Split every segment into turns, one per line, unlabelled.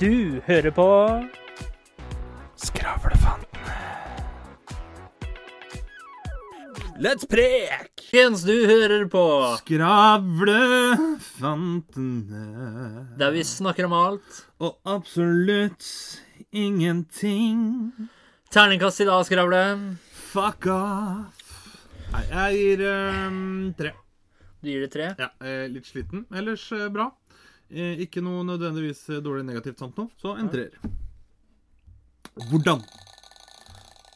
Du hører på
Skravlefantene. Let's prek!
Jens, du hører på
Skravlefantene.
Der vi snakker om alt.
Og absolutt ingenting.
Terningkast i dag, Skravle.
Fuck off. Nei, jeg gir ehm, tre.
Du gir det tre.
Ja, eh, litt sliten. Ellers eh, bra. Eh, ikke noe nødvendigvis eh, dårlig negativt sant noe, så en treer. Hvordan?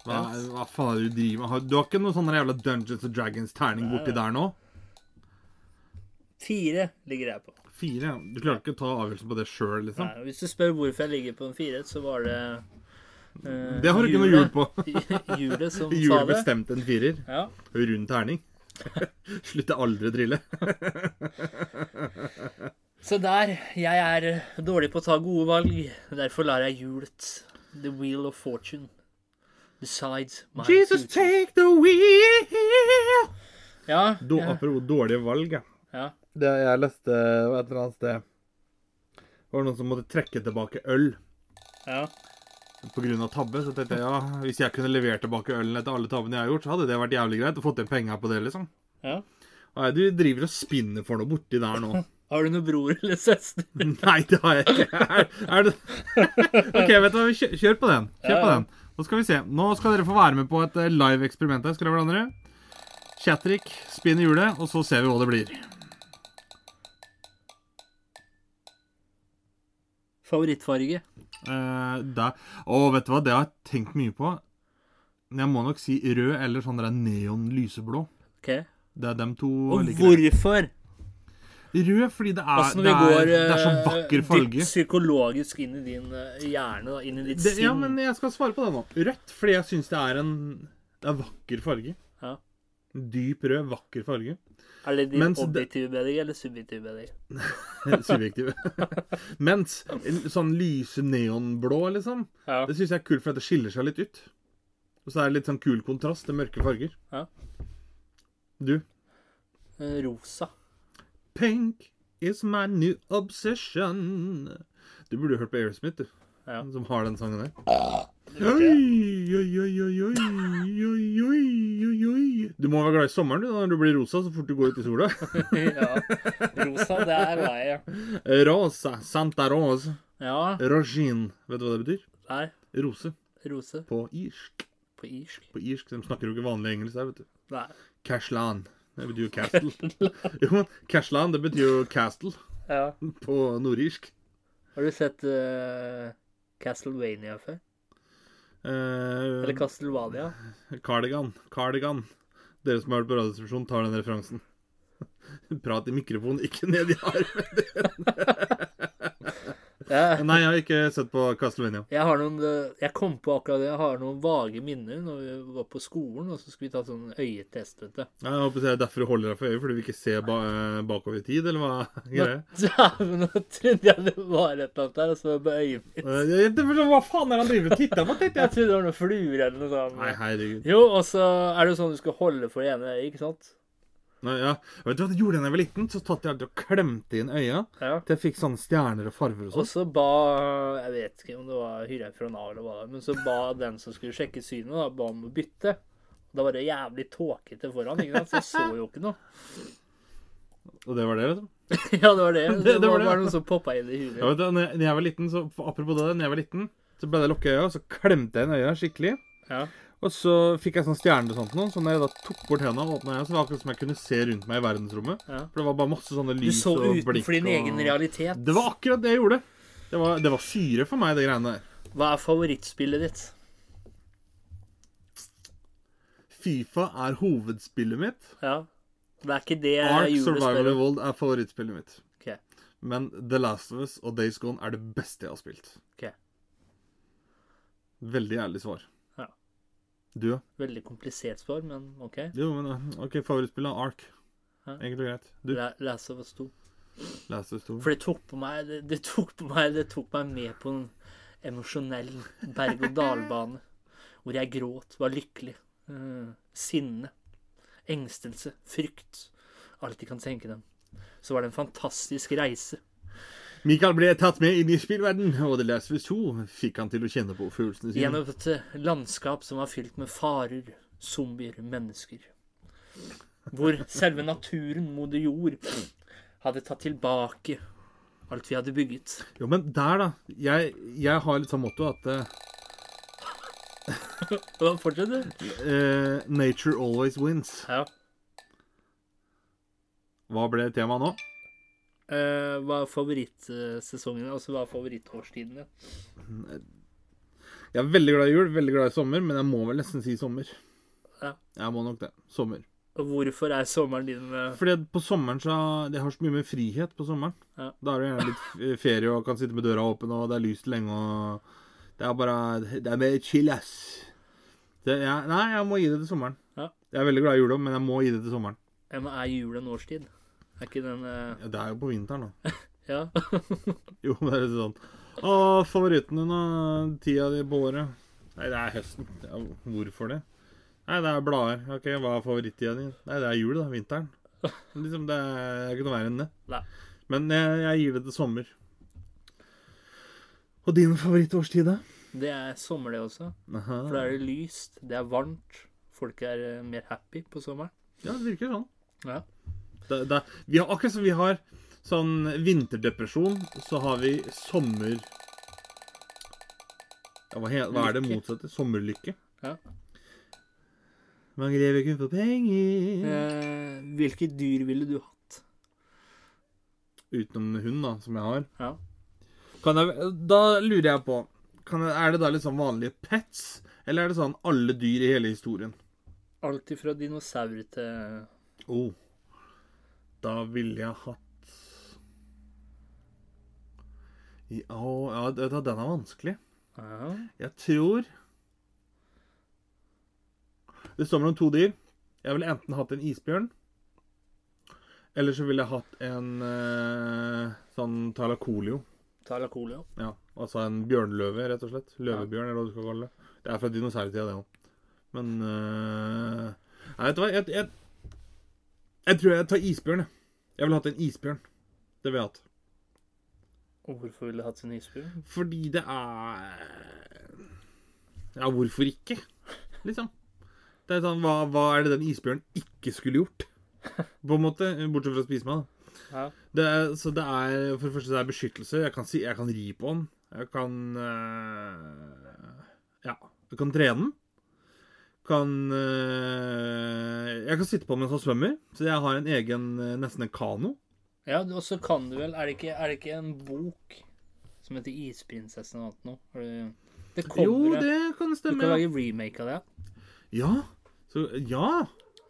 Hva, hva faen er det du driver med? Har- Du har ikke noe sånn jævla Dungeons and Dragons-terning borti der nå?
Fire ligger jeg på.
Fire? ja. Du klarer ikke å ta avgjørelsen på det sjøl, liksom?
Nei, hvis du spør hvorfor jeg ligger på en fire, så var det eh,
Det har du ikke noe hjul på.
hjulet- Hjulet som sa
Hjulet
det.
bestemte en firer.
Ja.
Rund terning. Slutter aldri å drille.
Se der. Jeg er dårlig på å ta gode valg. Derfor lar jeg hjulet, the wheel of fortune, decides my
Jesus,
future.
take the wheel!
Ja,
Da,
ja,
apropos dårlige valg, ja.
ja.
Det jeg leste var et eller annet sted Det var noen som måtte trekke tilbake øl
ja.
pga. tabbe. Så tenkte jeg ja, hvis jeg kunne levert tilbake ølen etter alle tabbene jeg har gjort, så hadde det vært jævlig greit å fått igjen penga på det, liksom.
ja.
Nei, du driver og spinner for noe borti der nå.
Har du noen bror eller søster?
Nei, det har jeg ikke. Er, er det... OK, vet du hva, vi kjø- kjør på den. Kjør
Ja,
på
ja.
den. Nå skal vi se. Nå skal dere få være med på et eh, live eksperiment her. Skal dere hverandre? Chattrick, spinn hjulet, og så ser vi hva det blir.
Favorittfarge?
Eh, da, og vet du hva, det har jeg tenkt mye på. Men Jeg må nok si rød eller sånn der neon lyseblå.
Ok.
Det er dem to
Og
like greit.
hvorfor?
Rød fordi det er,
Altså når
det
vi
er,
går
det er så
eh,
vakker
dypt
farge.
psykologisk inn i din eh, hjerne, da, inn i ditt
Det,
sinn.
ja, men jeg skal svare på det nå. Rødt fordi jeg syns det er en det er vakker farge.
Ja.
Dyp rød, vakker farge.
Er det din
mens det-
objektive bedring eller subjektive bedring?
Subjektiv. Mens en sånn lyse neonblå, liksom,
Ja.
det syns jeg er kult fordi det skiller seg litt ut. Og så er det litt sånn kul kontrast til mørke farger.
Ja.
Du?
Eh, Rosa.
Pink is my new obsession. Du burde hørt på Aerosmith, du.
Ja.
Som har den sangen der. Oi, oi, oi, oi, oi, oi, oi, oi, oi. Du må være glad i sommeren du, da, når du blir rosa så fort du går ut i sola.
ja. Rosa, det er leiet.
Rosa. Santa Rosa.
Ja,
Rogin. Vet du hva det betyr?
der.
Rose
Rose
på irsk.
på irsk.
På irsk. De snakker jo ikke vanlig engelsk der, vet du.
Nei.
Cashlan. Det betyr jo castle. jo, men Cashlan, det betyr jo castle
Ja.
på nordirsk.
Har du sett eh, Castlevania før?
Eh,
Eller Castlevania?
Cardigan. Cardigan. Dere som har vært på Radiodiskusjonen, tar den referansen. Prat i mikrofonen, ikke ned i armen.
Jeg,
Nei, jeg har ikke sett på Castlevania.
jeg har noen eh, Jeg kom på akkurat det. Jeg har noen vage minner når vi var på skolen, og så skulle vi ta sånn øyetest, vet du.
Jeg håper det er derfor du holder deg for øyet, fordi vi ikke ser ba eh, bakover i tid, eller hva er greia?
Dæven, nå trodde jeg det var et eller annet der, og så var det bare øyet mitt.
Eh, jeg- det- Hva faen er det han driver og titter på, tenkte
Jeg
jeg?
trodde det var noen fluer eller noe
Nei,
sånt.
herregud.
Jo, og så er det jo sånn du skal holde for det ene øyet, ikke sant?
Nei, ja. Vet du hva jeg gjorde da jeg var liten? Så tatt jeg alltid og klemte inn øya
Ja.
til jeg fikk sånne stjerner og farver og
Og
sånn.
så ba Jeg vet ikke om det var Hyrheim fra Nav eller hva det var, men så ba den som skulle sjekke synet, da, ba om å bytte. Da var det jævlig tåkete foran, ikke sant? så jeg så jo ikke noe.
Og det var det, vet du.
Ja, det var det. Det,
det var
var
det.
bare noe som poppa inn i
Ja,
huet.
vet du, når jeg- når jeg var liten, så, apropos det, når jeg var liten, så ble det lukket øya, og så klemte jeg inn øya skikkelig.
Ja.
Og så fikk jeg sånn stjerne og sånt nå, så når jeg da tok bort hendene og åpna øya, så var det akkurat som jeg kunne se rundt meg i verdensrommet.
Ja.
For det var bare masse sånne
Du
lys
så
og blikk.
utenfor din egen
og...
realitet.
Det var akkurat det jeg gjorde. Det var, det var syre for meg, det greiene der.
Hva er favorittspillet ditt?
Fifa er hovedspillet mitt.
Ja. Det er ikke det
Ark Survival
julespillet
Evolved er favorittspillet mitt.
Ok.
Men The Last of Us og Days Gone er det beste jeg har spilt.
Ok.
Veldig ærlig svar.
Ja.
Du, ja?
Veldig komplisert svar, men OK.
Jo, men eh, OK, favorittspillet er Ark.
Ja.
Enkelt og greit. Du,
La- Last of Us 2.
Last of Us 2.
For det tok på meg Det, det tok på meg Det tok meg med på en emosjonell berg-og-dal-bane. Hvor jeg gråt, var lykkelig. eh, sinne. Engstelse. Frykt. Alt de kan tenke dem. Så var det en fantastisk reise.
Michael ble tatt med inn i spillverden, og The Last of Us 2 fikk han til å kjenne på følelsene sine.
Gjennom et eh, landskap som var fylt med farer, zombier, mennesker. Hvor selve naturen, moder jord, hadde tatt tilbake alt vi hadde bygget.
Jo, men der, da. Jeg, jeg har litt sånn motto at
Og da fortsetter det.
eh, Nature always wins.
Ja.
Hva ble temaet nå?
Eh, hva er favorittsesongen? Altså hva er favorittårstiden? Ja.
Jeg er veldig glad i jul, veldig glad i sommer, men jeg må vel nesten si sommer.
Ja.
Jeg må nok det. Sommer.
Og hvorfor er sommeren din eh,
Fordi at på sommeren så Jeg har så mye mer frihet på sommeren.
Ja.
Da er det gjerne litt f- ferie og kan sitte med døra åpen, og det er lyst lenge og Det er bare Det er mer chill, ass. Det, jeg, nei, jeg må gi det til sommeren.
Ja.
Jeg er veldig glad i jula, men jeg må gi det til sommeren.
ja, men Er jul en årstid? Er ikke den eh,
Ja, det er jo på vinteren, da.
Ja.
Jo, men det er sånn Å, favoritten din, da? Tida di på året? Nei, det er høsten. Ja, hvorfor det? Nei, det er blader. Ok, hva er favorittida di? Nei, det er jul, da. Vinteren. Liksom, det er ikke noe verre enn det.
Nei.
Men jeg, jeg gir det til sommer. Og din favorittårstid, da?
Det er sommer, det også.
Aha.
For da er det lyst, det er varmt. Folk er eh, mer happy på sommeren.
Ja, det virker sånn.
Ja.
Det, det, vi har, akkurat som vi har sånn vinterdepresjon, så har vi sommer... Ja, hva, he, hva er det
Lykke.
motsatte? Sommerlykke?
Ja.
Man grever kun for penger.
Eh, hvilke dyr ville du hatt?
Utenom hund, da, som jeg har.
Ja.
Kan jeg, da lurer jeg på kan jeg, Er det da litt sånn vanlige pets? Eller er det sånn alle dyr i hele historien?
Alt ifra dinosaurer til
Oh. Da ville jeg hatt I, å, ja, vet du, hva, Den er vanskelig.
ja.
Jeg tror Det står mellom to dyr. Jeg ville enten hatt en isbjørn. Eller så ville jeg hatt en eh, sånn talakolio.
Talacolia.
Ja, altså en bjørnløve, rett og slett. Løvebjørn, eller hva du skal kalle det. Det er fra dinosaurtida, det òg. Men øh, Nei, vet du hva? Jeg, jeg, jeg tror jeg tar isbjørn, jeg. Jeg ville hatt en isbjørn. Det ville jeg hatt.
Og hvorfor ville du hatt en isbjørn?
Fordi det er Ja, hvorfor ikke? Liksom. Det er sånn, hva, hva er det den isbjørnen ikke skulle gjort? På en måte. Bortsett fra å spise meg, da.
Ja.
Det er, så det er For det første det er beskyttelse. Jeg kan, si, jeg kan ri på den. Jeg kan øh, Ja. Jeg kan trene den. Kan øh, Jeg kan sitte på den mens han svømmer. Så jeg har en egen øh, Nesten en kano.
ja, og så kan du vel Er det ikke, er det ikke en bok som heter 'Isprinsessen' og alt noe? Har du- Det kommer
Jo,
det.
det kan
Du
stemme.
kan
ja.
lage remake av det.
Ja. Så, ja.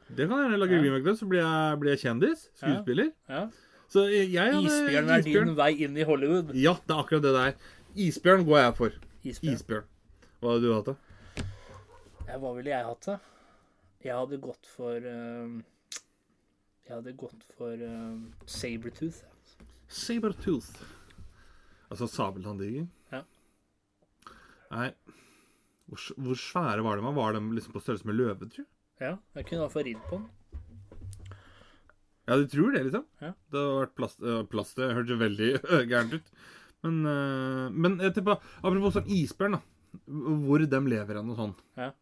Det kan jeg lage
Ja.
remake av. Så blir jeg, blir jeg kjendis. Skuespiller.
Ja.
Så jeg, jeg hadde-
Isbjørn er din vei inn i Hollywood.
Ja, det er akkurat det det er. Isbjørn går jeg for.
Isbjørn.
Isbjørn. Hva hadde du hatt, da?
Ja, hva ville jeg hatt, da? Jeg hadde gått for eh, Jeg hadde gått for eh, Sabretooth.
Sabertooth. Altså sabeltanndiger?
Ja.
Nei hvor, s- hvor svære var de? da? Var de liksom på størrelse med løve, tror du?
Ja, jeg kunne i hvert fall ridd på den.
Ja, du tror det, liksom?
Ja.
Det hadde vært plast, øh, plast det hørtes jo veldig gærent ut. Men, øh, men jeg tipper Apropos sånn isbjørn, da. Hvor de lever hen og sånn.
Ja.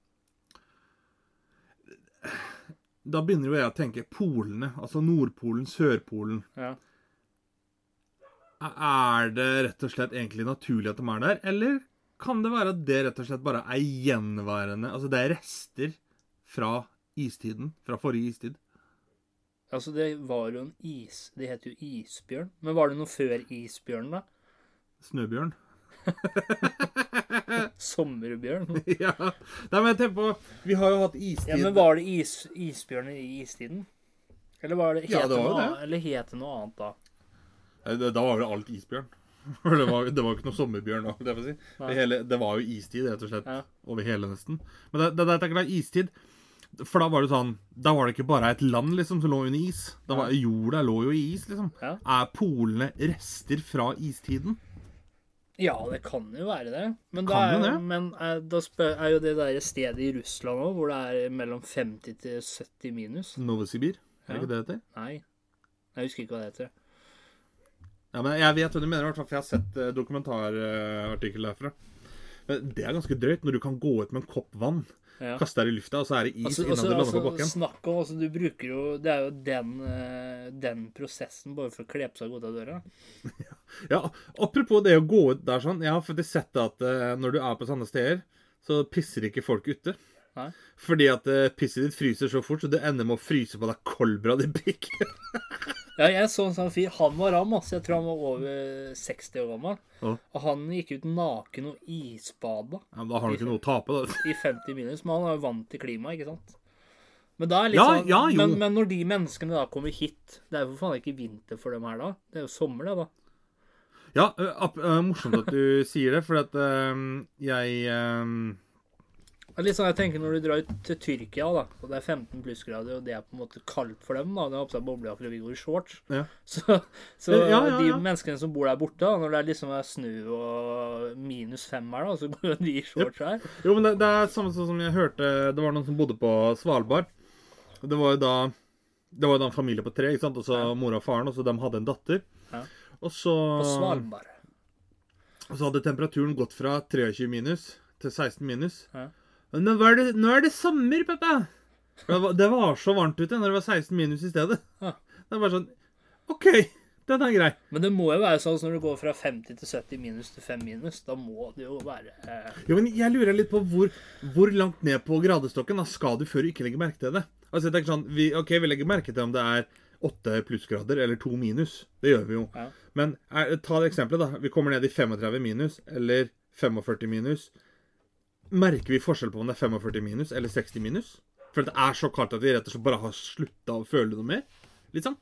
Da begynner jo jeg å tenke polene. Altså Nordpolen, Sørpolen.
Ja.
Er det rett og slett egentlig naturlig at de er der, eller kan det være at det rett og slett bare er gjenværende Altså det er rester fra istiden, fra forrige istid?
Altså, det var jo en is... Det het jo isbjørn. Men var det noe før isbjørn, da?
Snøbjørn?
Sommerbjørn?
ja. Nei, men jeg tenker på Vi har jo hatt istid.
Ja, men var det is, isbjørn i istiden? Eller var det,
Ja,
het
det var jo
noe,
det.
annet- Eller het det noe annet da?
Nei, det- Da var vel alt isbjørn. For det var, det var jo ikke noe sommerbjørn da, holdt jeg på å si.
Nei.
Det, hele, det var jo istid, rett og slett.
Ja.
Over hele nesten. Men det, det, det, det er istid. For da var det sånn Da var det ikke bare et land liksom som lå under is. Da var, Jorda lå jo i is, liksom.
Ja.
Er polene rester fra istiden?
Ja, det kan jo være det. Men, da
Kan
er,
jo
jo-
det.
men eh, da spør, er jo det der stedet i Russland òg, hvor det er mellom 50 til 70 minus.
Novosibir? Er
Ja.
det ikke det det heter?
Nei, jeg husker ikke hva det heter.
Ja, men Jeg vet hva du mener, i hvert fall, for jeg har sett eh, dokumentarartikkel derfra. Men Det er ganske drøyt når du kan gå ut med en kopp vann,
Ja.
kaste deg i lufta, og så er det is
Altså,
innan
altså,
du lander
altså,
på bakken.
snakk om altså, Du bruker jo Det er jo den, eh, den prosessen bare for å kle på seg godt av døra.
Ja, Apropos det å gå ut der sånn. Jeg har faktisk sett at eh, når du er på sånne steder, så pisser ikke folk ute.
Nei.
Fordi at eh, pisset ditt fryser så fort, så du ender med å fryse på deg kolbra di pikken.
Ja, jeg så en sånn fyr. Han var ram, altså. Jeg tror han var over 60 år gammel.
Ja.
Og han gikk ut naken og isbada
Ja, men da har du ikke noe å tape, da.
i 50 minus. Men han er jo vant til klimaet, ikke sant? Men, da er litt
Ja,
sånn,
ja, jo.
men, men når de menneskene da kommer hit Det er jo for faen ikke vinter for dem her da. Det er jo sommer, det, da.
Ja, ø, ap- ø, morsomt at du sier det, for at ø, jeg ø,
Det er litt sånn jeg tenker når du drar ut til Tyrkia, da, og det er 15 plussgrader, og det er på en måte kaldt for dem, da, de har på seg boblejakker og vi går i shorts,
Ja.
så, så
Ja, ja,
de
ja.
menneskene som bor der borte, da, når det er liksom er snø og minus fem her, da, så går jo de i shorts her.
Jo, men det, det er samme sånn som jeg hørte Det var noen som bodde på Svalbard. Og Det var jo da Det var jo da en familie på tre, ikke sant? og så mora og faren, og så de hadde en datter.
Ja.
Og så
På Svalbard.
Og så hadde temperaturen gått fra 23 minus til 16 minus.
Ja.
Men nå er det, nå er det sommer, pappa! For Det var, det var så varmt ute når det var 16 minus i stedet.
Ja.
Det er bare sånn OK, den er grei.
Men det må jo være sånn at når du går fra 50 til 70 minus til 5 minus, da må det jo være eh,
Jo, men jeg lurer litt på hvor, hvor langt ned på gradestokken da skal du før du ikke legger merke til det? Altså, jeg tenker sånn, vi, ok, vi legger merke til om det er åtte plussgrader eller to minus. Det gjør vi jo.
Ja.
Men er, ta det eksempelet, da. Vi kommer ned i 35 minus eller 45 minus. Merker vi forskjell på om det er 45 minus eller 60 minus? For det er så kaldt at vi rett og slett bare har slutta å føle noe mer. Litt sånn.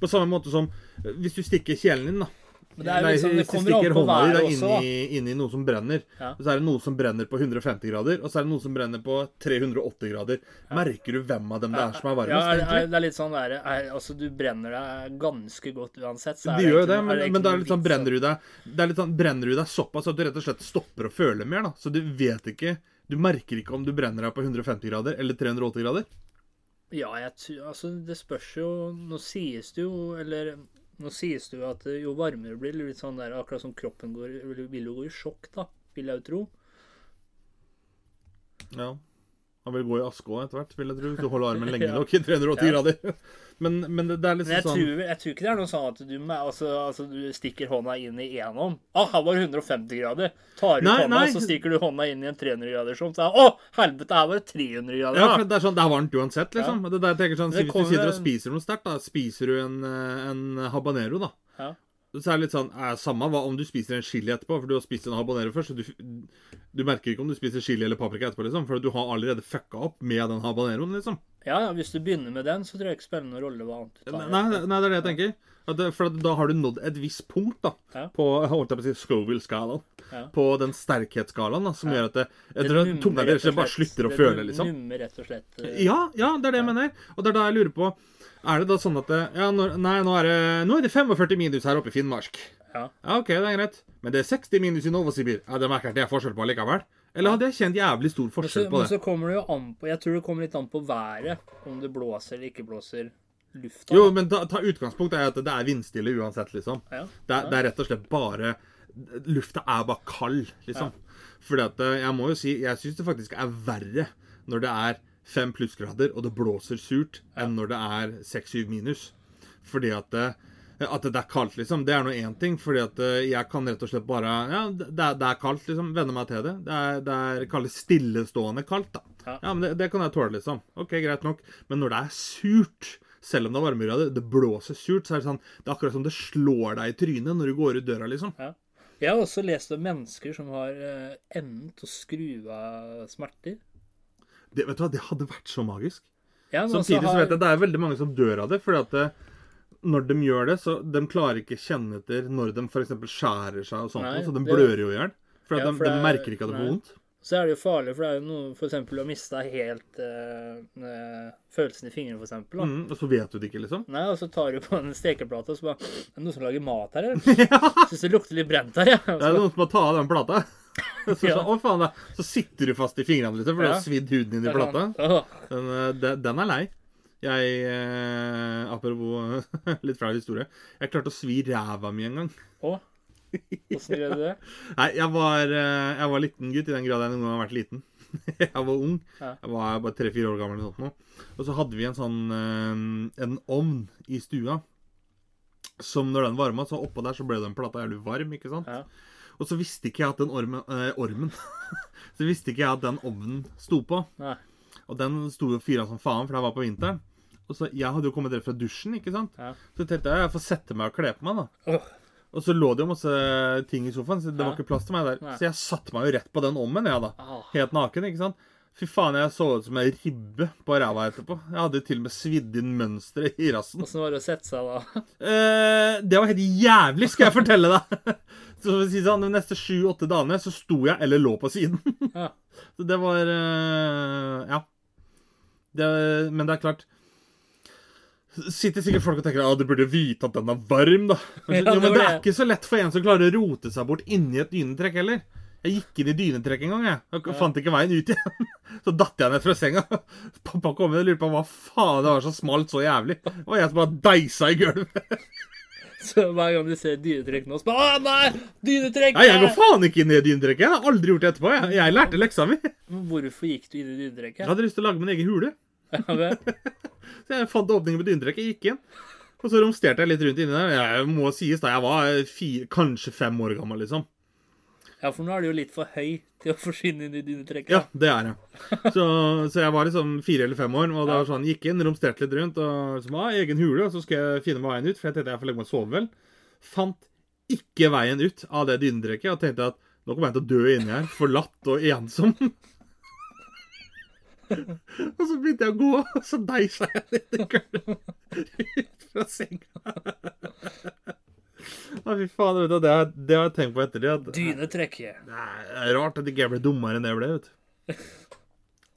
På samme måte som eh, hvis du stikker kjelen din, da.
Men det er jo
Nei,
litt sånn, det
hvis du
kommer an
stikker
på
hånda di,
været
da,
også,
inn i- inn i noe som brenner.
Ja.
Og så er det noe som brenner på 150 grader, og så er det noe som brenner på 380 grader. Merker du hvem av dem det er som er varmest?
ja, er, er,
egentlig?
det er litt sånn der, er, altså du brenner deg ganske godt uansett. Så
De gjør jo
ikke
det,
noe-
men,
ikke
men
noe
da er det litt
vits
sånn
å-
brenner du deg Det er litt sånn brenner du deg såpass at du rett og slett stopper å føle mer, da. Så du vet ikke Du merker ikke om du brenner deg på 150 grader eller 380 grader.
Ja, jeg tror, altså det spørs jo Nå sies det jo, eller Nå sies det jo at eh, jo varmere det blir, litt sånn der akkurat som kroppen går, vil- vil jo gå i sjokk, da. Vil jeg jo tro.
Ja. Han vil gå i aske òg etter hvert, vil jeg tro. Hvis du holder armen lenge
Ja.
nok i 380
Ja.
grader. Men, men det, det
Men
er
jeg
liksom sånn
tror, jeg tror ikke det er noe sånn at du, med- altså, altså, du stikker hånda inn i enom. Å, her var det 150 grader. Tar ut
Nei,
hånda,
nei.
så stikker du hånda inn i en 300 graders ovn. så er det, Å, helvete, her var det 300 grader.
Ja,
da.
for det er sånn, det er varmt uansett, liksom. Det er der jeg tenker sånn,
Det
Hvis du
kommer-
sitter og spiser noe sterkt, da, spiser du en, eh, en habanero, da.
Ja.
Så er det litt sånn, eh, Samme hva om du spiser en chili etterpå, for du har spist en habanero først. Så du, du merker ikke om du spiser chili eller paprika etterpå, liksom, for du har allerede fucka opp med den habaneroen, liksom.
ja, ja, hvis du begynner med den, så tror jeg ikke spiller noen rolle hva annet du
Nei,
tar.
nei, nei, det er det jeg tenker. At det, for at da har du nådd et visst punkt da,
Ja.
på holdt jeg på å si, Scoville-skalaen.
Ja.
På den sterkhetsskalaen da, som gjør at eh, det, jeg
Det
tror at
nummer
tunga
rett og
deres bare
slett-
slutter å
det
føle,
num-
liksom.
nummer rett og slett. eh,
Ja, ja, det er det jeg mener. Og det er da jeg lurer på Er det da sånn at det, ja, når, Nei, nå er, det, nå er det 45 minus her oppe i Finnmark.
Ja.
Ja, OK, det er greit. Men det er 60 minus i Novosibir. Ja, Det merker jeg at det er forskjell på likevel. Eller hadde jeg kjent jævlig stor
Men så,
forskjell
Altså,
på
men
det?
så kommer det jo an på Jeg tror det kommer litt an på været. Om det blåser eller ikke blåser lufta.
Jo, men ta, ta utgangspunkt er at det er vindstille uansett, liksom.
Ja.
Det er, det er rett og slett bare Lufta er bare kald, liksom. Fordi at eh, jeg må jo si Jeg syns det faktisk er verre når det er fem plussgrader og det blåser surt, enn når det er seks-syv minus. Fordi at eh, at det er kaldt, liksom. Det er nå én ting. fordi at eh, jeg kan rett og slett bare Ja, det det er, det er kaldt, liksom. Venne meg til det. Det er, det er kall det stillestående kaldt, da. Ja,
Ja.
men det, det kan jeg tåle, liksom. OK, greit nok. Men når det er surt, selv om det er varmegrader, det blåser surt, så er det sånn Det er akkurat som det slår deg i trynet når du går ut døra, liksom.
Ja. Jeg har også lest om mennesker som har eh, enden til å skru av smerter.
Det, vet du hva, det hadde vært så magisk.
Ja, men
Samtidig
også
så
har-
vet jeg at det er veldig mange som dør av det, fordi at eh, når de gjør det, så de klarer ikke kjenne etter når de f.eks. skjærer seg og sånt,
Nei,
så de
det-
blør jo i hjel. For, at
Ja,
de,
for
de
det-
merker ikke at det
nei.
får vondt.
Så er det jo farlig, for det er jo noe for eksempel å miste helt eh, eh, følelsen i fingrene, for eksempel. Da.
Mm, og så vet du det ikke, liksom.
Nei, og så tar du på en stekeplate, og så bare Er det noen som lager mat her, eller? Syns det lukter litt brent her, jeg.
Det er noen som må ta av den plata. Så, så,
Ja.
å faen, da. så sitter du fast i fingrene, liksom, for du
Ja. sånn,
har svidd huden din i plata. Den, eh, de- den er lei. Jeg eh, Apropos litt flau historie. Jeg klarte å svi ræva mi en gang.
Å? Åssen gjør du det?
Nei, jeg var, eh, jeg var liten gutt i den grad jeg noen gang har vært liten. Jeg var ung.
Ja.
Jeg var bare tre-fire år gammel. eller sånt nå. Og så hadde vi en sånn eh, en ovn i stua. Som når den varma, så oppå der så ble den plata jævlig varm. ikke sant?
Ja.
Og så visste ikke jeg at den ormen, eh, ormen Så visste ikke jeg at den ovnen sto på.
Nei.
Og den sto jo fyra som faen, for det var på vinteren. Og så, Jeg hadde jo kommet rett fra dusjen, ikke sant?
Ja.
Så tenkte jeg jeg får sette meg og kle på meg, da.
Åh,
Og så lå det jo masse ting i sofaen, så det
Ja.
var ikke plass til meg der.
Nei.
Så jeg satte meg jo rett på den ommen, jeg, da.
ah,
Helt naken, ikke sant? Fy faen, jeg så ut som ei ribbe på ræva etterpå. Jeg hadde jo til og med svidd inn mønsteret i rassen.
Åssen var det å sette seg da?
Eh, det var helt jævlig, skal jeg fortelle deg. Så for å si det sånn, De neste sju-åtte dagene så sto jeg eller lå på siden.
Ja.
Så det var eh, Ja. Det, men det er klart Sitter sikkert folk og tenker at du burde vite at den er varm, da. Men,
Ja,
jo,
det var
men det er
det.
ikke så lett for en som klarer å rote seg bort inni et dynetrekk heller. Jeg gikk inn i dynetrekk en gang, jeg. Og fant ikke veien ut igjen. Så datt jeg ned fra senga. Pappa kom inn og lurte på hva faen det var som smalt så jævlig. Og jeg som bare deisa i gulvet.
Så hver gang du ser dynetrekk nå, så bare Å, nei! Dynetrekk!
Nei, jeg går faen ikke inn i dyndrekket. Jeg har aldri gjort det etterpå. Jeg, jeg lærte leksa mi. Jeg
Men Hvorfor gikk du inn i dynetrekket?
hadde lyst til å lage min egen hule,
Ja, vel.
så jeg fant åpningen på dyndrekket, gikk inn. Og så romsterte jeg litt rundt inni der. Jeg må sies da, jeg var fire, kanskje fem år gammel, liksom.
ja, for nå er du jo litt for høy til å forsvinne inn i dynetrekket.
Ja, det er jeg. Så, så jeg var liksom fire eller fem år, og da var sånn, gikk inn, romsterte litt rundt, og så var jeg i egen hule, og så skal jeg finne meg veien ut, for jeg tenkte jeg får legge meg og sove vel. Fant ikke veien ut av det dynedrekket, og tenkte at nå kommer jeg til å dø inni her, forlatt og ensom. og så begynte jeg å gå, og så deisa jeg litt i gulvet ut fra senga. Å, fy faen, vet du, det har, det har jeg tenkt på etter det. at-
Dynetrekket.
Nei, det er rart at ikke jeg ble dummere enn det jeg ble, vet du.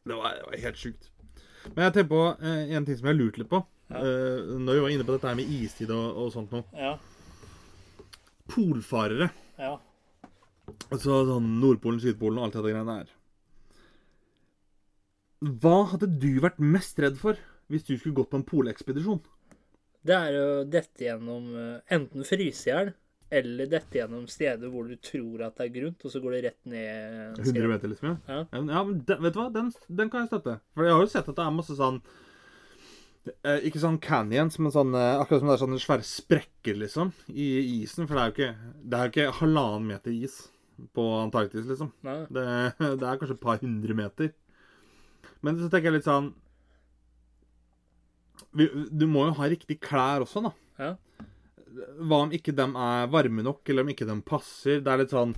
Det var, det var helt sjukt. Men jeg tenker på eh, en ting som jeg har lurt litt på. Eh, når vi var inne på dette her med istid og, og sånt noe.
Ja.
Polfarere.
Ja.
Altså sånn Nordpolen, Sydpolen og alt dette greiene her. Hva hadde du vært mest redd for hvis du skulle gått på en polekspedisjon?
Det er jo dette gjennom eh, enten frysejern eller dette gjennom steder hvor du tror at det er grunt, og så går det rett ned
100 meter, liksom? Ja.
Ja.
Ja, men- ja men den, vet du hva? Den, den kan jeg støtte. For jeg har jo sett at det er masse sånn eh, Ikke sånn canyons, men sånn eh, akkurat som det er sånne svære sprekker, liksom, i isen. For det er jo ikke, det er jo ikke halvannen meter is på Antarktis, liksom.
Nei.
Det, det er kanskje et par hundre meter. Men så tenker jeg litt sånn vi, Du må jo ha riktig klær også, da.
Ja.
Hva om ikke dem er varme nok, eller om ikke dem passer? Det er litt sånn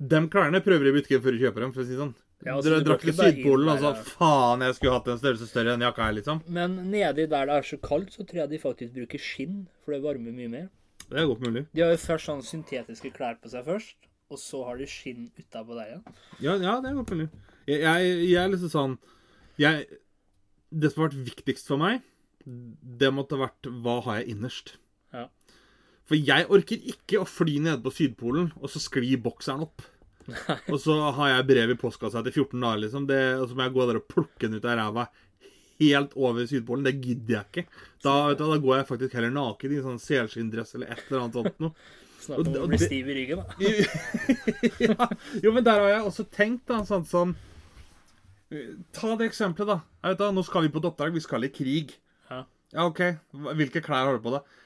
Dem klærne prøver jeg å bytte før du kjøper dem, for å si det sånn.
Ja, altså,
Dere
du går
drakk til
ikke bare inn
Sydpolen,
der,
altså.
ja.
Faen, jeg skulle hatt en størrelse større enn jakka her, liksom.
Men nedi der det er så kaldt, så tror jeg de faktisk bruker skinn, for det varmer mye mer.
Det er godt mulig.
De har jo først sånn syntetiske klær på seg først, og så har de skinn utapå deg igjen.
Ja, ja det er godt mulig. Jeg, jeg, jeg er liksom sånn jeg, Det som har vært viktigst for meg, det måtte ha vært hva har jeg innerst.
Ja.
For jeg orker ikke å fly nede på Sydpolen, og så sklir bokseren opp. og så har jeg brev i postkassa etter 14 dager, liksom. Det, og så må jeg gå der og plukke den ut av ræva helt over Sydpolen. Det gidder jeg ikke. Da, vet du, hva, da går jeg faktisk heller naken i en sånn selskindress eller et eller annet sånt noe.
Snakk om
Og-
å
og
bli
det-
stiv i ryggen, da.
ja. Jo, men der har jeg også tenkt, da, sånn som eh, Ta det eksempelet, da. Jeg vet da, Nå skal vi på et oppdrag. Vi skal i krig.
Ja.
Ja, OK. Hva- Hvilke klær har du på deg?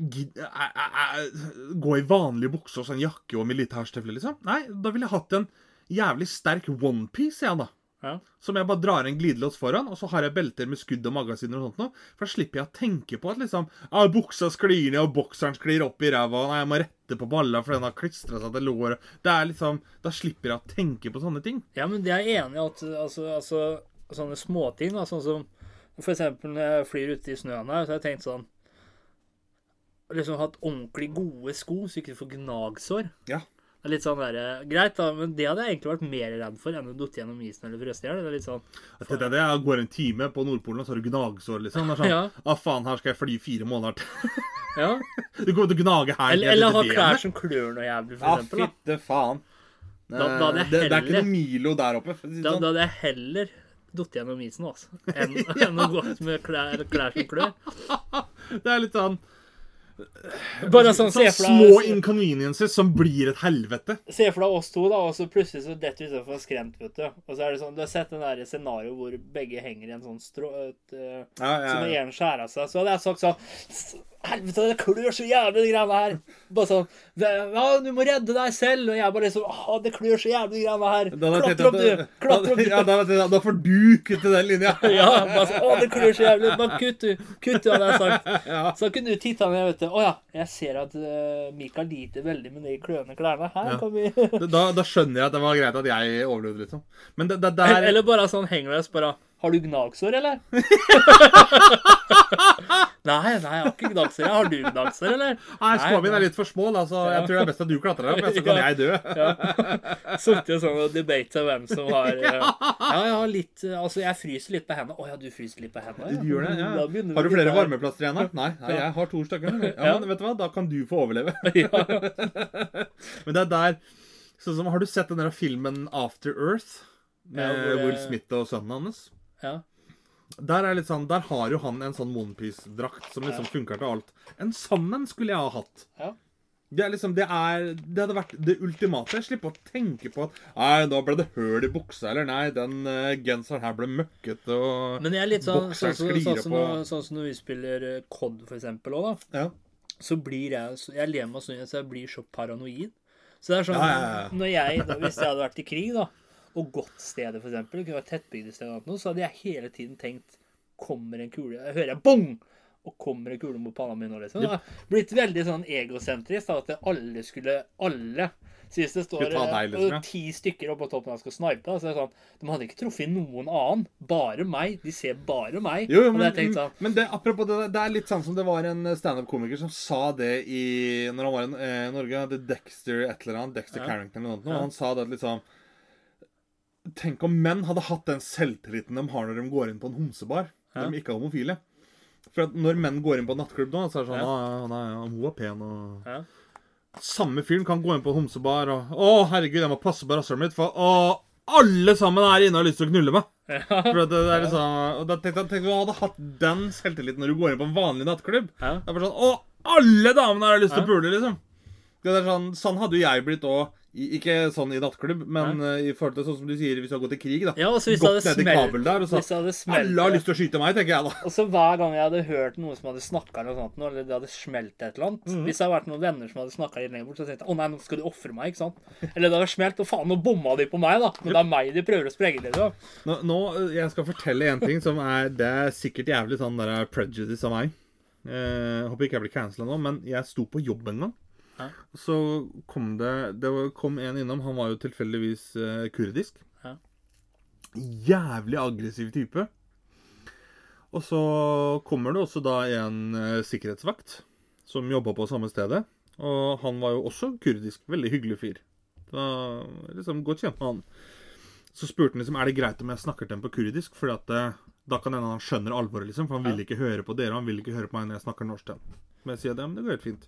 Gid- eh, æ- æ- æ- eh, Gå i vanlige bukser og sånn jakke og militærstøvler, liksom? Nei, da ville jeg hatt en jævlig sterk onepiece, jeg, da.
Ja.
Som jeg bare drar en glidelås foran, og så har jeg belter med skudd og magasiner og sånt noe. For da slipper jeg å tenke på at liksom ah, Buksa sklir ned, og bokseren sklir opp i ræva, og nei, jeg må rette på balla for den har klistra seg til låret Det er liksom Da slipper jeg å tenke på sånne ting.
Ja, men jeg er enig i at altså, altså, sånne småting, da, sånn som for eksempel når jeg flyr ute i snøen her, så har jeg tenkt sånn Liksom hatt ordentlig gode sko, så ikke du får gnagsår.
Ja.
Det er litt sånn der, eh, Greit, da, men det hadde jeg egentlig vært mer redd for enn å dotte gjennom isen eller fryse i hjel. Det er litt sånn
At det, det jeg går en time på Nordpolen, og så har du gnagsår, liksom. Det er sånn,
Ja.
ah, faen, her skal jeg fly fire måneder til.
Ja.
Du kommer til å gnage her.
Eller,
ned til
eller ha
benet.
klær som klør noe jævlig, for
Ja,
eksempel. Da.
fitte faen. Eh,
Da- da hadde jeg
det, det er ikke
heller-
noe Milo der oppe. for å si det
Da,
sånn.
da hadde jeg heller datt gjennom isen, altså. Enn enn å gå ut med klær, eller klær som klør.
Det er litt sånn,
Bare sånn, se
sånn
for
små
deg
inconveniences som blir et helvete.
Se for deg oss to, da, og så plutselig så detter vi utenfor skrent, vet du. Og så er det sånn, Du har sett den der scenarioet hvor begge henger i en sånn strå... Et, eh,
Ja,
så når
ja,
en skjærer av seg, så hadde jeg sagt sånn "S- Helvete, det klør så jævlig, de greiene her. Bare sånn "Hva- Ja, du må redde deg selv. Og jeg bare liksom Å, det klør så jævlig, de greiene her.
Da hadde jeg
Klatre opp,
tenkt
du.
at-
Klatre opp, du.
Ja, da, hadde jeg tenkt at da får du kutte den linja.
Ja, bare sånn, å, det klør så jævlig. Bare kutt, du. Kutt, du, hadde jeg sagt. Så kunne du titta ned, vet du. Å ja, jeg ser at eh, Mikael liter veldig med de kløende klærne. Her
Ja.
kan vi
Da, da skjønner jeg at det var greit at jeg overlevde, liksom. Men det, det, det er
Eller bare sånn hengløs, bare Har du gnagsår, eller? nei, nei, jeg har ikke gnagsår. jeg. Har du gnagsår, eller?
Nei, skoene mine
nei.
er litt for små, da, så jeg tror det er best at du klatrer opp, ja, så kan
Ja.
jeg dø.
Sittet sånn og debatet hvem som har eh, Ja, jeg har litt eh, Altså, jeg fryser litt på hendene. Å ja, du fryser litt på hendene?
Du gjør det, ja.
Da begynner
Har du
vi
flere
der.
varmeplasser igjen? da? Nei, nei, jeg har to stykker. Ja, men vet du hva, da kan du få overleve.
Ja.
Men det er der Sånn som, Har du sett den der filmen After Earth? Med
Ja, hvor det-
Will Smith og sønnen hans?
ja.
Der er litt sånn, der har jo han en sånn onepiece-drakt som liksom funker til alt. En sånn en skulle jeg ha hatt.
Ja.
Det er liksom, det er, det hadde vært det ultimate. Jeg slipper å tenke på at Nei, da ble det høl i buksa, eller nei, den eh, genseren her ble møkkete og
Men jeg er litt sånn
Bokseren
sånn som
sklir
sånn, som
på.
når- sånn som når vi spiller eh, COD, for eksempel, også, da.
Ja.
så blir jeg så Jeg ler meg sånn at jeg blir så paranoid. Så det er sånn
Ja, ja, ja.
Når jeg, da, Hvis jeg hadde vært i krig, da, og gått stedet, for eksempel, det kunne vært tettbygde steder, eller noe, så hadde jeg hele tiden tenkt Kommer en kule Jeg hører jeg bong! Og kommer en kule mot panna mi nå, liksom. Det har blitt veldig sånn egosentrisk da, at alle skulle Alle så hvis det står
Skulle ta deg, liksom,
eh,
ja.
ti stykker oppå toppen og skal snipe, da, så er det sånn De hadde ikke truffet noen annen. Bare meg. De ser bare meg.
Jo, jo,
Og da har jeg
men,
tenkt sånn,
men det, apropos det, der, det er litt sånn som det var en standup-komiker som sa det i Når han var i eh, Norge, det Dexter et eller annet, Dexter
Ja.
Carrington eller noe sånt,
Ja.
og han sa det at liksom Tenk om menn hadde hatt den selvtilliten de har når de går inn på en homsebar. Når
Ja.
de ikke er homofile. For at når menn går inn på en nattklubb nå, så er det sånn
Ja.
ja. han er, hun er pen og
ja.
Samme fyren kan gå inn på en homsebar og Å, herregud, jeg må passe på rasshølet mitt, for å, alle sammen her inne har lyst til å knulle meg.
Ja.
For at det, det er liksom, og da tenkte jeg, tenk om du hadde hatt den selvtilliten når du går inn på en vanlig nattklubb.
Ja.
Det er bare sånn, Å, alle damene her har lyst til
Ja.
å pule, liksom. Det er sånn, sånn hadde jo jeg blitt òg. Ikke sånn i nattklubb, men eh, i forhold til sånn som du sier, hvis du har gått i krig, da.
Ja, og så hvis det
gått
hadde
ned i
smelt
kabel der og
Hvis
sagt
det hadde smelt
Altså, Alle har lyst til å skyte meg, tenker jeg da.
Og så hver gang jeg hadde hørt noen som hadde snakka eller noe sånt, eller det hadde smelt et eller annet
Mhm.
Hvis det hadde vært noen venner som hadde snakka litt lenger bort, så tenkte jeg å nei, nå skal de ofre meg, ikke sant? Eller det hadde smelt, og faen, nå bomma de på meg, da. Men det er meg de prøver å sprenge, liksom.
Nå, nå eh, jeg skal fortelle en ting som er Det er sikkert jævlig sånn der er prejudice av meg. Eh, håper ikke jeg blir cancela nå, men jeg sto på jobb en gang.
Ja.
Så kom det Det var- kom en innom. Han var jo tilfeldigvis eh, kurdisk.
Ja.
Jævlig aggressiv type. Og så kommer det også da en eh, sikkerhetsvakt som jobba på samme stedet. Og han var jo også kurdisk. Veldig hyggelig fyr. Da, liksom Godt kjent med han. Så spurte han liksom, er det greit om jeg snakker til ham på kurdisk, Fordi at eh, da kan hende han skjønner alvoret, liksom. For han vil ikke høre på dere, han vil ikke høre på meg når jeg snakker norsk til ham. Men jeg sier det, men det går helt fint.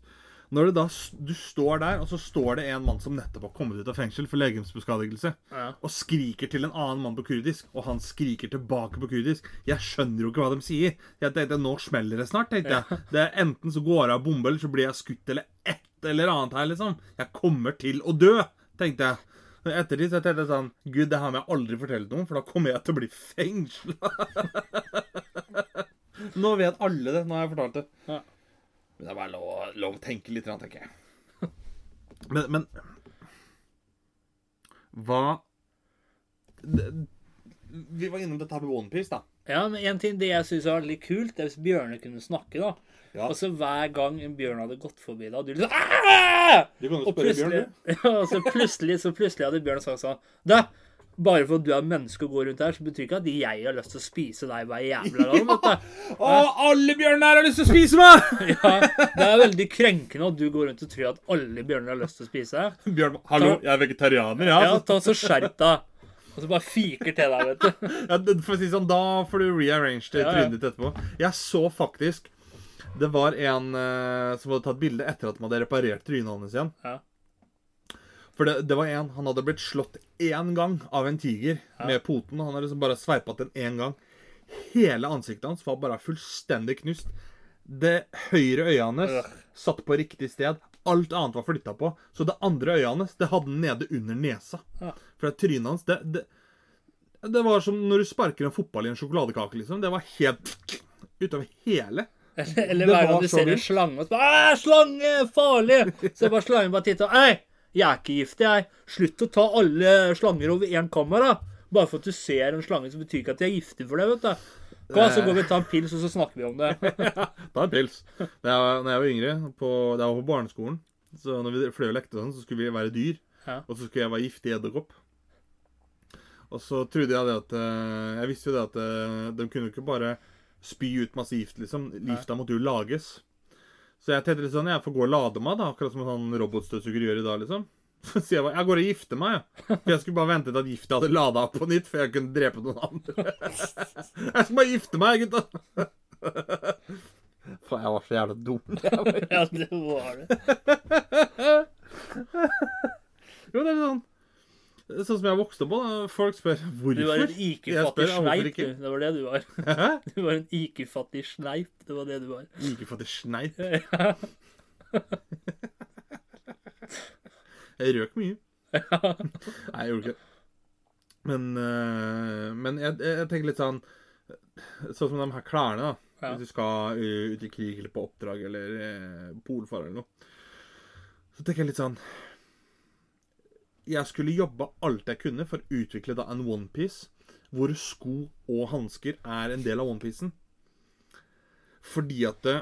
Når du da s- du står der, og så står det en mann som nettopp har kommet ut av fengsel for legemsbeskadigelse,
Ja.
og skriker til en annen mann på kurdisk, og han skriker tilbake på kurdisk Jeg skjønner jo ikke hva de sier. Jeg tenkte nå smeller det snart, tenkte jeg. Det er enten så går det av bombe, eller så blir jeg skutt, eller et eller annet her, liksom. Jeg kommer til å dø, tenkte jeg. Men etter det så tenkte jeg sånn Gud, det her må jeg aldri fortelle noen, for da kommer jeg til å bli fengsla. nå vet alle det. Nå har jeg fortalt det.
Ja.
Men det er bare lov, lov å tenke litt, tenker jeg. Men, men Hva det- Vi var innom dette her med OnePiece, da.
ja, men en ting det jeg syns var veldig kult, det er hvis bjørner kunne snakke, da.
Ja.
Og så hver gang en bjørn hadde gått forbi deg, og du liksom «Ah!»
Du kan jo
Og plutselig, ja, og så plutselig, så plutselig hadde Bjørn sagt sånn Du, bare for at du er menneske og går rundt her, så betyr ikke at jeg har lyst til å spise deg hver jævla gang. vet du.
Å, alle bjørnene her har lyst til å spise meg!
Ja, det er veldig krenkende at du går rundt og tror at alle bjørner har lyst til å spise deg.
Bjørn, hallo, jeg er vegetarianer, ja.
Ja,
så-
ta så skjerp deg. Og så bare fiker til deg, vet du.
ja, det- for å si det sånn, da får du rearrange
Ja,
det
ja.
trynet ditt etterpå. Jeg så faktisk Det var en eh, som hadde tatt bilde etter at man hadde reparert trynet hans igjen.
Ja.
For For det, det var en, han hadde blitt slått én gang av en tiger med poten. Han hadde liksom bare sveipa til den én gang. Hele ansiktet hans var bare fullstendig knust. Det høyre øyet hans
Øh.
satt på riktig sted. Alt annet var flytta på. Så det andre øyet hans det hadde han nede under nesa.
Ja.
For det trynet hans det, det, det var som når du sparker en fotball i en sjokoladekake, liksom. Det var helt utover hele.
Eller, eller
Det
hver
var
gang du
så
ser en
vilt.
slange og så bare «Æ, Slange! Farlig! Så bare slangen bare titter. Ei, jeg er ikke gift, jeg. Slutt å ta alle slanger over én kamera. Bare for at du ser en slange, så betyr ikke at de er giftige for deg, vet du. Kom, så går vi og tar en pils, og så snakker vi om det.
Da er det pils. Da jeg, når jeg var yngre, på, da jeg var på barneskolen, så når vi fløy og lekte og sånn, så skulle vi være dyr.
Ja.
Og så skulle jeg være giftig edderkopp. Og så trodde jeg det at eh, Jeg visste jo det at eh, de kunne jo ikke bare spy ut masse gift, liksom. Gifta måtte jo lages. Så jeg tenkte litt sånn Jeg får gå og lade meg, da. Akkurat som en sånn robotstøvsuger gjør i dag, liksom. Så sier jeg bare Jeg går og gifter meg, jeg. For jeg skulle bare vente til at gifta hadde lada opp på nytt, før jeg kunne drepe noen andre. Jeg skal bare gifte meg, gutta. Faen, jeg var så jævla dum.
Ja, det var det.
Jo, det er sånn Sånn som jeg vokste opp på. da. Folk spør hvorfor.
Du var en
Jeg spør,
IQ-fattig
ja, hvorfor
sneip,
ikke?
du. Det var det du var.
Hæ?
Du var en IQ-fattig sneip. Det var det du var.
Ikke for at det sneip.
Ja.
Jeg røk mye. Nei, jeg gjorde ikke det. Men, øh, men jeg, jeg jeg tenker litt sånn Sånn som de her klærne, da.
Ja.
Hvis du skal øh, ut i krig eller på oppdrag eller øh, polfare eller noe. Så tenker jeg litt sånn Jeg skulle jobba alt jeg kunne for å utvikle da en onepiece hvor sko og hansker er en del av onepiecen. Fordi at det,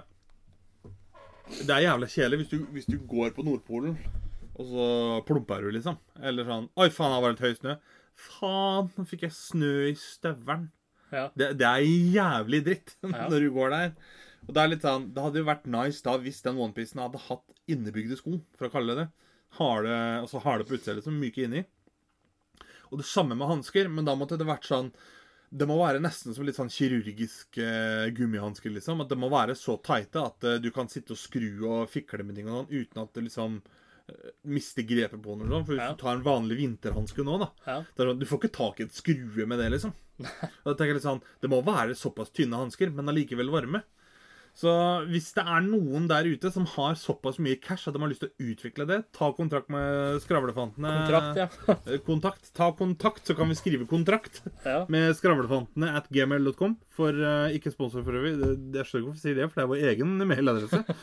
det er jævla kjedelig hvis, du- hvis du går på Nordpolen og så plumper du, liksom. Eller sånn Oi, faen, her var det litt høy snø. Faen, nå fikk jeg snø i støvelen.
Ja.
Det, det er jævlig dritt
Ja.
når du går der. Og Det er litt sånn, det hadde jo vært nice da hvis den onepiecen hadde hatt innebygde sko, for å kalle det det. Harde, altså harde på utsida, liksom. Myke inni. Og det samme med hansker, men da måtte det vært sånn Det må være nesten som litt sånn kirurgisk eh, gummihansker, liksom. At det må være så tighte at eh, du kan sitte og skru og fikle med ting og sånn uten at det liksom eh, mister grepet på den. eller sånn. For hvis
Ja.
du tar en vanlig vinterhanske nå, da
Ja.
det er sånn, Du får ikke tak i en skrue med det, liksom. Og da tenker jeg litt sånn, Det må være såpass tynne hansker, men allikevel varme. Så hvis det er noen der ute som har såpass mye cash at de har lyst til å utvikle det, ta kontakt med Skravlefantene.
Kontrakt, ja.
Eh, Kontakt. Ta kontakt, så kan vi skrive kontrakt
ja.
med skravlefantene at gmail.com. For eh, ikke sponsor for øvrig. Det, det, jeg skjønner ikke hvorfor jeg sier det, for det er vår egen mailadresse.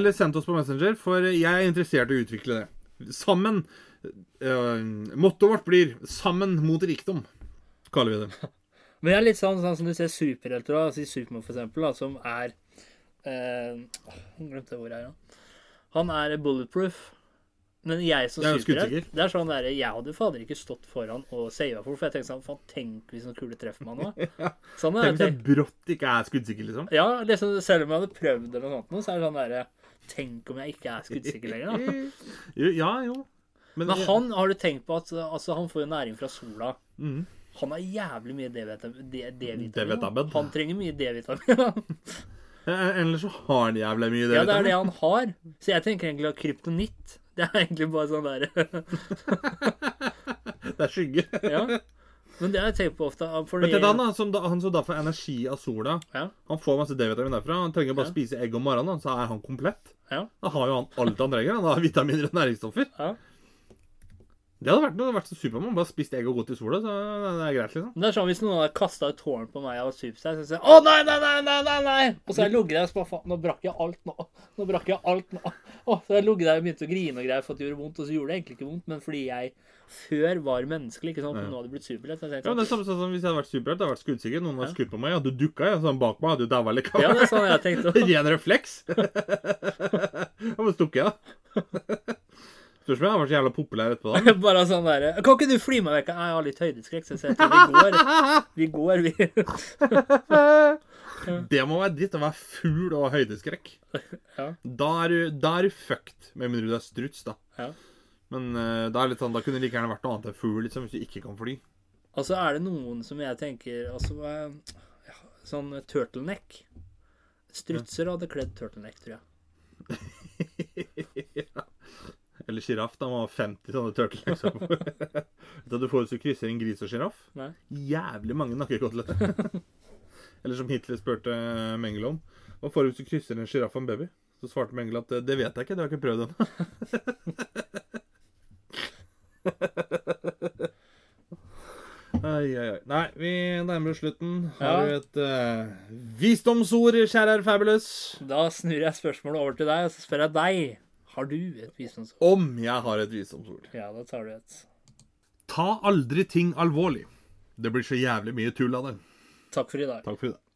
Eller sendt oss på Messenger, for jeg er interessert i å utvikle det. Sammen. Uh, Mottoet vårt blir 'Sammen mot rikdom', kaller vi det.
Men jeg er litt sånn, sånn som du ser superhelter, da, altså i Superman for eksempel, da, som er eh, Nå glemte jeg hvor jeg er, ja. Han er bulletproof. Men jeg som
Det er jo
superhelt
skuddsikker.
Det er sånn der, Jeg hadde fader ikke stått foran og sava folk, for jeg tenkte sånn Faen, tenk hvis noen kule treffer meg nå. Sånn er
Tenk
det.
hvis jeg brått ikke er skuddsikker, liksom.
Ja, liksom, selv om jeg hadde prøvd eller noe sånt, nå, så er det sånn derre Tenk om jeg ikke er skuddsikker lenger, da.
Jo, ja, jo. Men,
Men han har du tenkt på at altså, han får jo næring fra sola.
Mhm.
Han har jævlig mye D-vitamin. D- D-vitamin, da.
D-vitamin.
Han trenger mye D-vitamin. da.
Eh, Ellers så har han jævlig mye
Ja, det er
vet
det
du.
han har. Så jeg tenker egentlig at kryptonitt Det er egentlig bare sånn der
det er skygge.
Ja. Men det har jeg tenkt på ofte. For
Men til han, da, som da, han som da får energi av sola,
Ja,
han får masse D-vitamin derfra. Han trenger bare
Ja.
spise egg om morgenen, da, så er han komplett.
ja,
Da har jo han alt han trenger. Han har vitaminer og næringsstoffer.
ja.
Det hadde vært noe, det hadde vært så Supermann. Bare spist egg og gått i sola, så det er greit, liksom.
Men det er sånn hvis noen hadde kasta et tårn på meg og supet seg, så sier jeg å nei, nei, nei, nei, nei, nei! Og så har jeg ligget der og så bare faen, nå brakk jeg alt nå. Nå brakk jeg alt nå. Og så har jeg ligget der og begynt å grine og greier for at det gjorde vondt, og så gjorde det egentlig ikke vondt, men fordi jeg før var menneskelig, ikke sant, men nå hadde jeg blitt superlett. så jeg
Ja,
tenkte
men det er samme sånn som Hvis jeg hadde vært superhelt, hadde jeg vært skuddsikker. Noen hadde skutt på meg, hadde du dukka, jeg sånn bak meg, hadde du daua
sånn, Ja,
likevel.
det er sånn jeg tenkte.
Ren refleks. Jeg bare stukket av. Spørs om jeg hadde vært så jævla populær etterpå.
Bare sånn derre Kan ikke du fly meg vekk? Nei, Jeg har litt høydeskrekk, så jeg ser til vi går. Vi går, vi.
da. Det må være dritt å være fugl og ha høydeskrekk.
Ja.
Da er du, da er du fucked, med mindre du er struts, da.
Ja.
Men eh, da, er det litt sånn, da kunne det like gjerne vært noe annet enn fugl, liksom, hvis du ikke kan fly.
Og så er det noen som jeg tenker altså, eh, ja, Sånn turtleneck. Strutser hadde kledd turtleneck, tror jeg.
Eller sjiraff. Da må man ha 50 sånne turtle. Liksom. Vet du hva du får hvis du krysser en gris og sjiraff?
Nei.
Jævlig mange nakkekoteletter. Eller som Hitler spurte Mengele om. Hva får du hvis du krysser en sjiraff og en baby? Så svarte Mengele at eh, det vet jeg ikke, det har jeg ikke prøvd ennå. Ai, ai, ai. Nei, vi nærmer oss slutten.
Ja.
Har du et eh, visdomsord, kjære herr Fabulous?
Da snur jeg spørsmålet over til deg, og så spør jeg deg. Har du et visdomsord?
Om jeg har et visdomsord?
Ja, da tar du et.
Ta aldri ting alvorlig. Det blir så jævlig mye tull av det.
Takk for i dag.
Takk for i dag.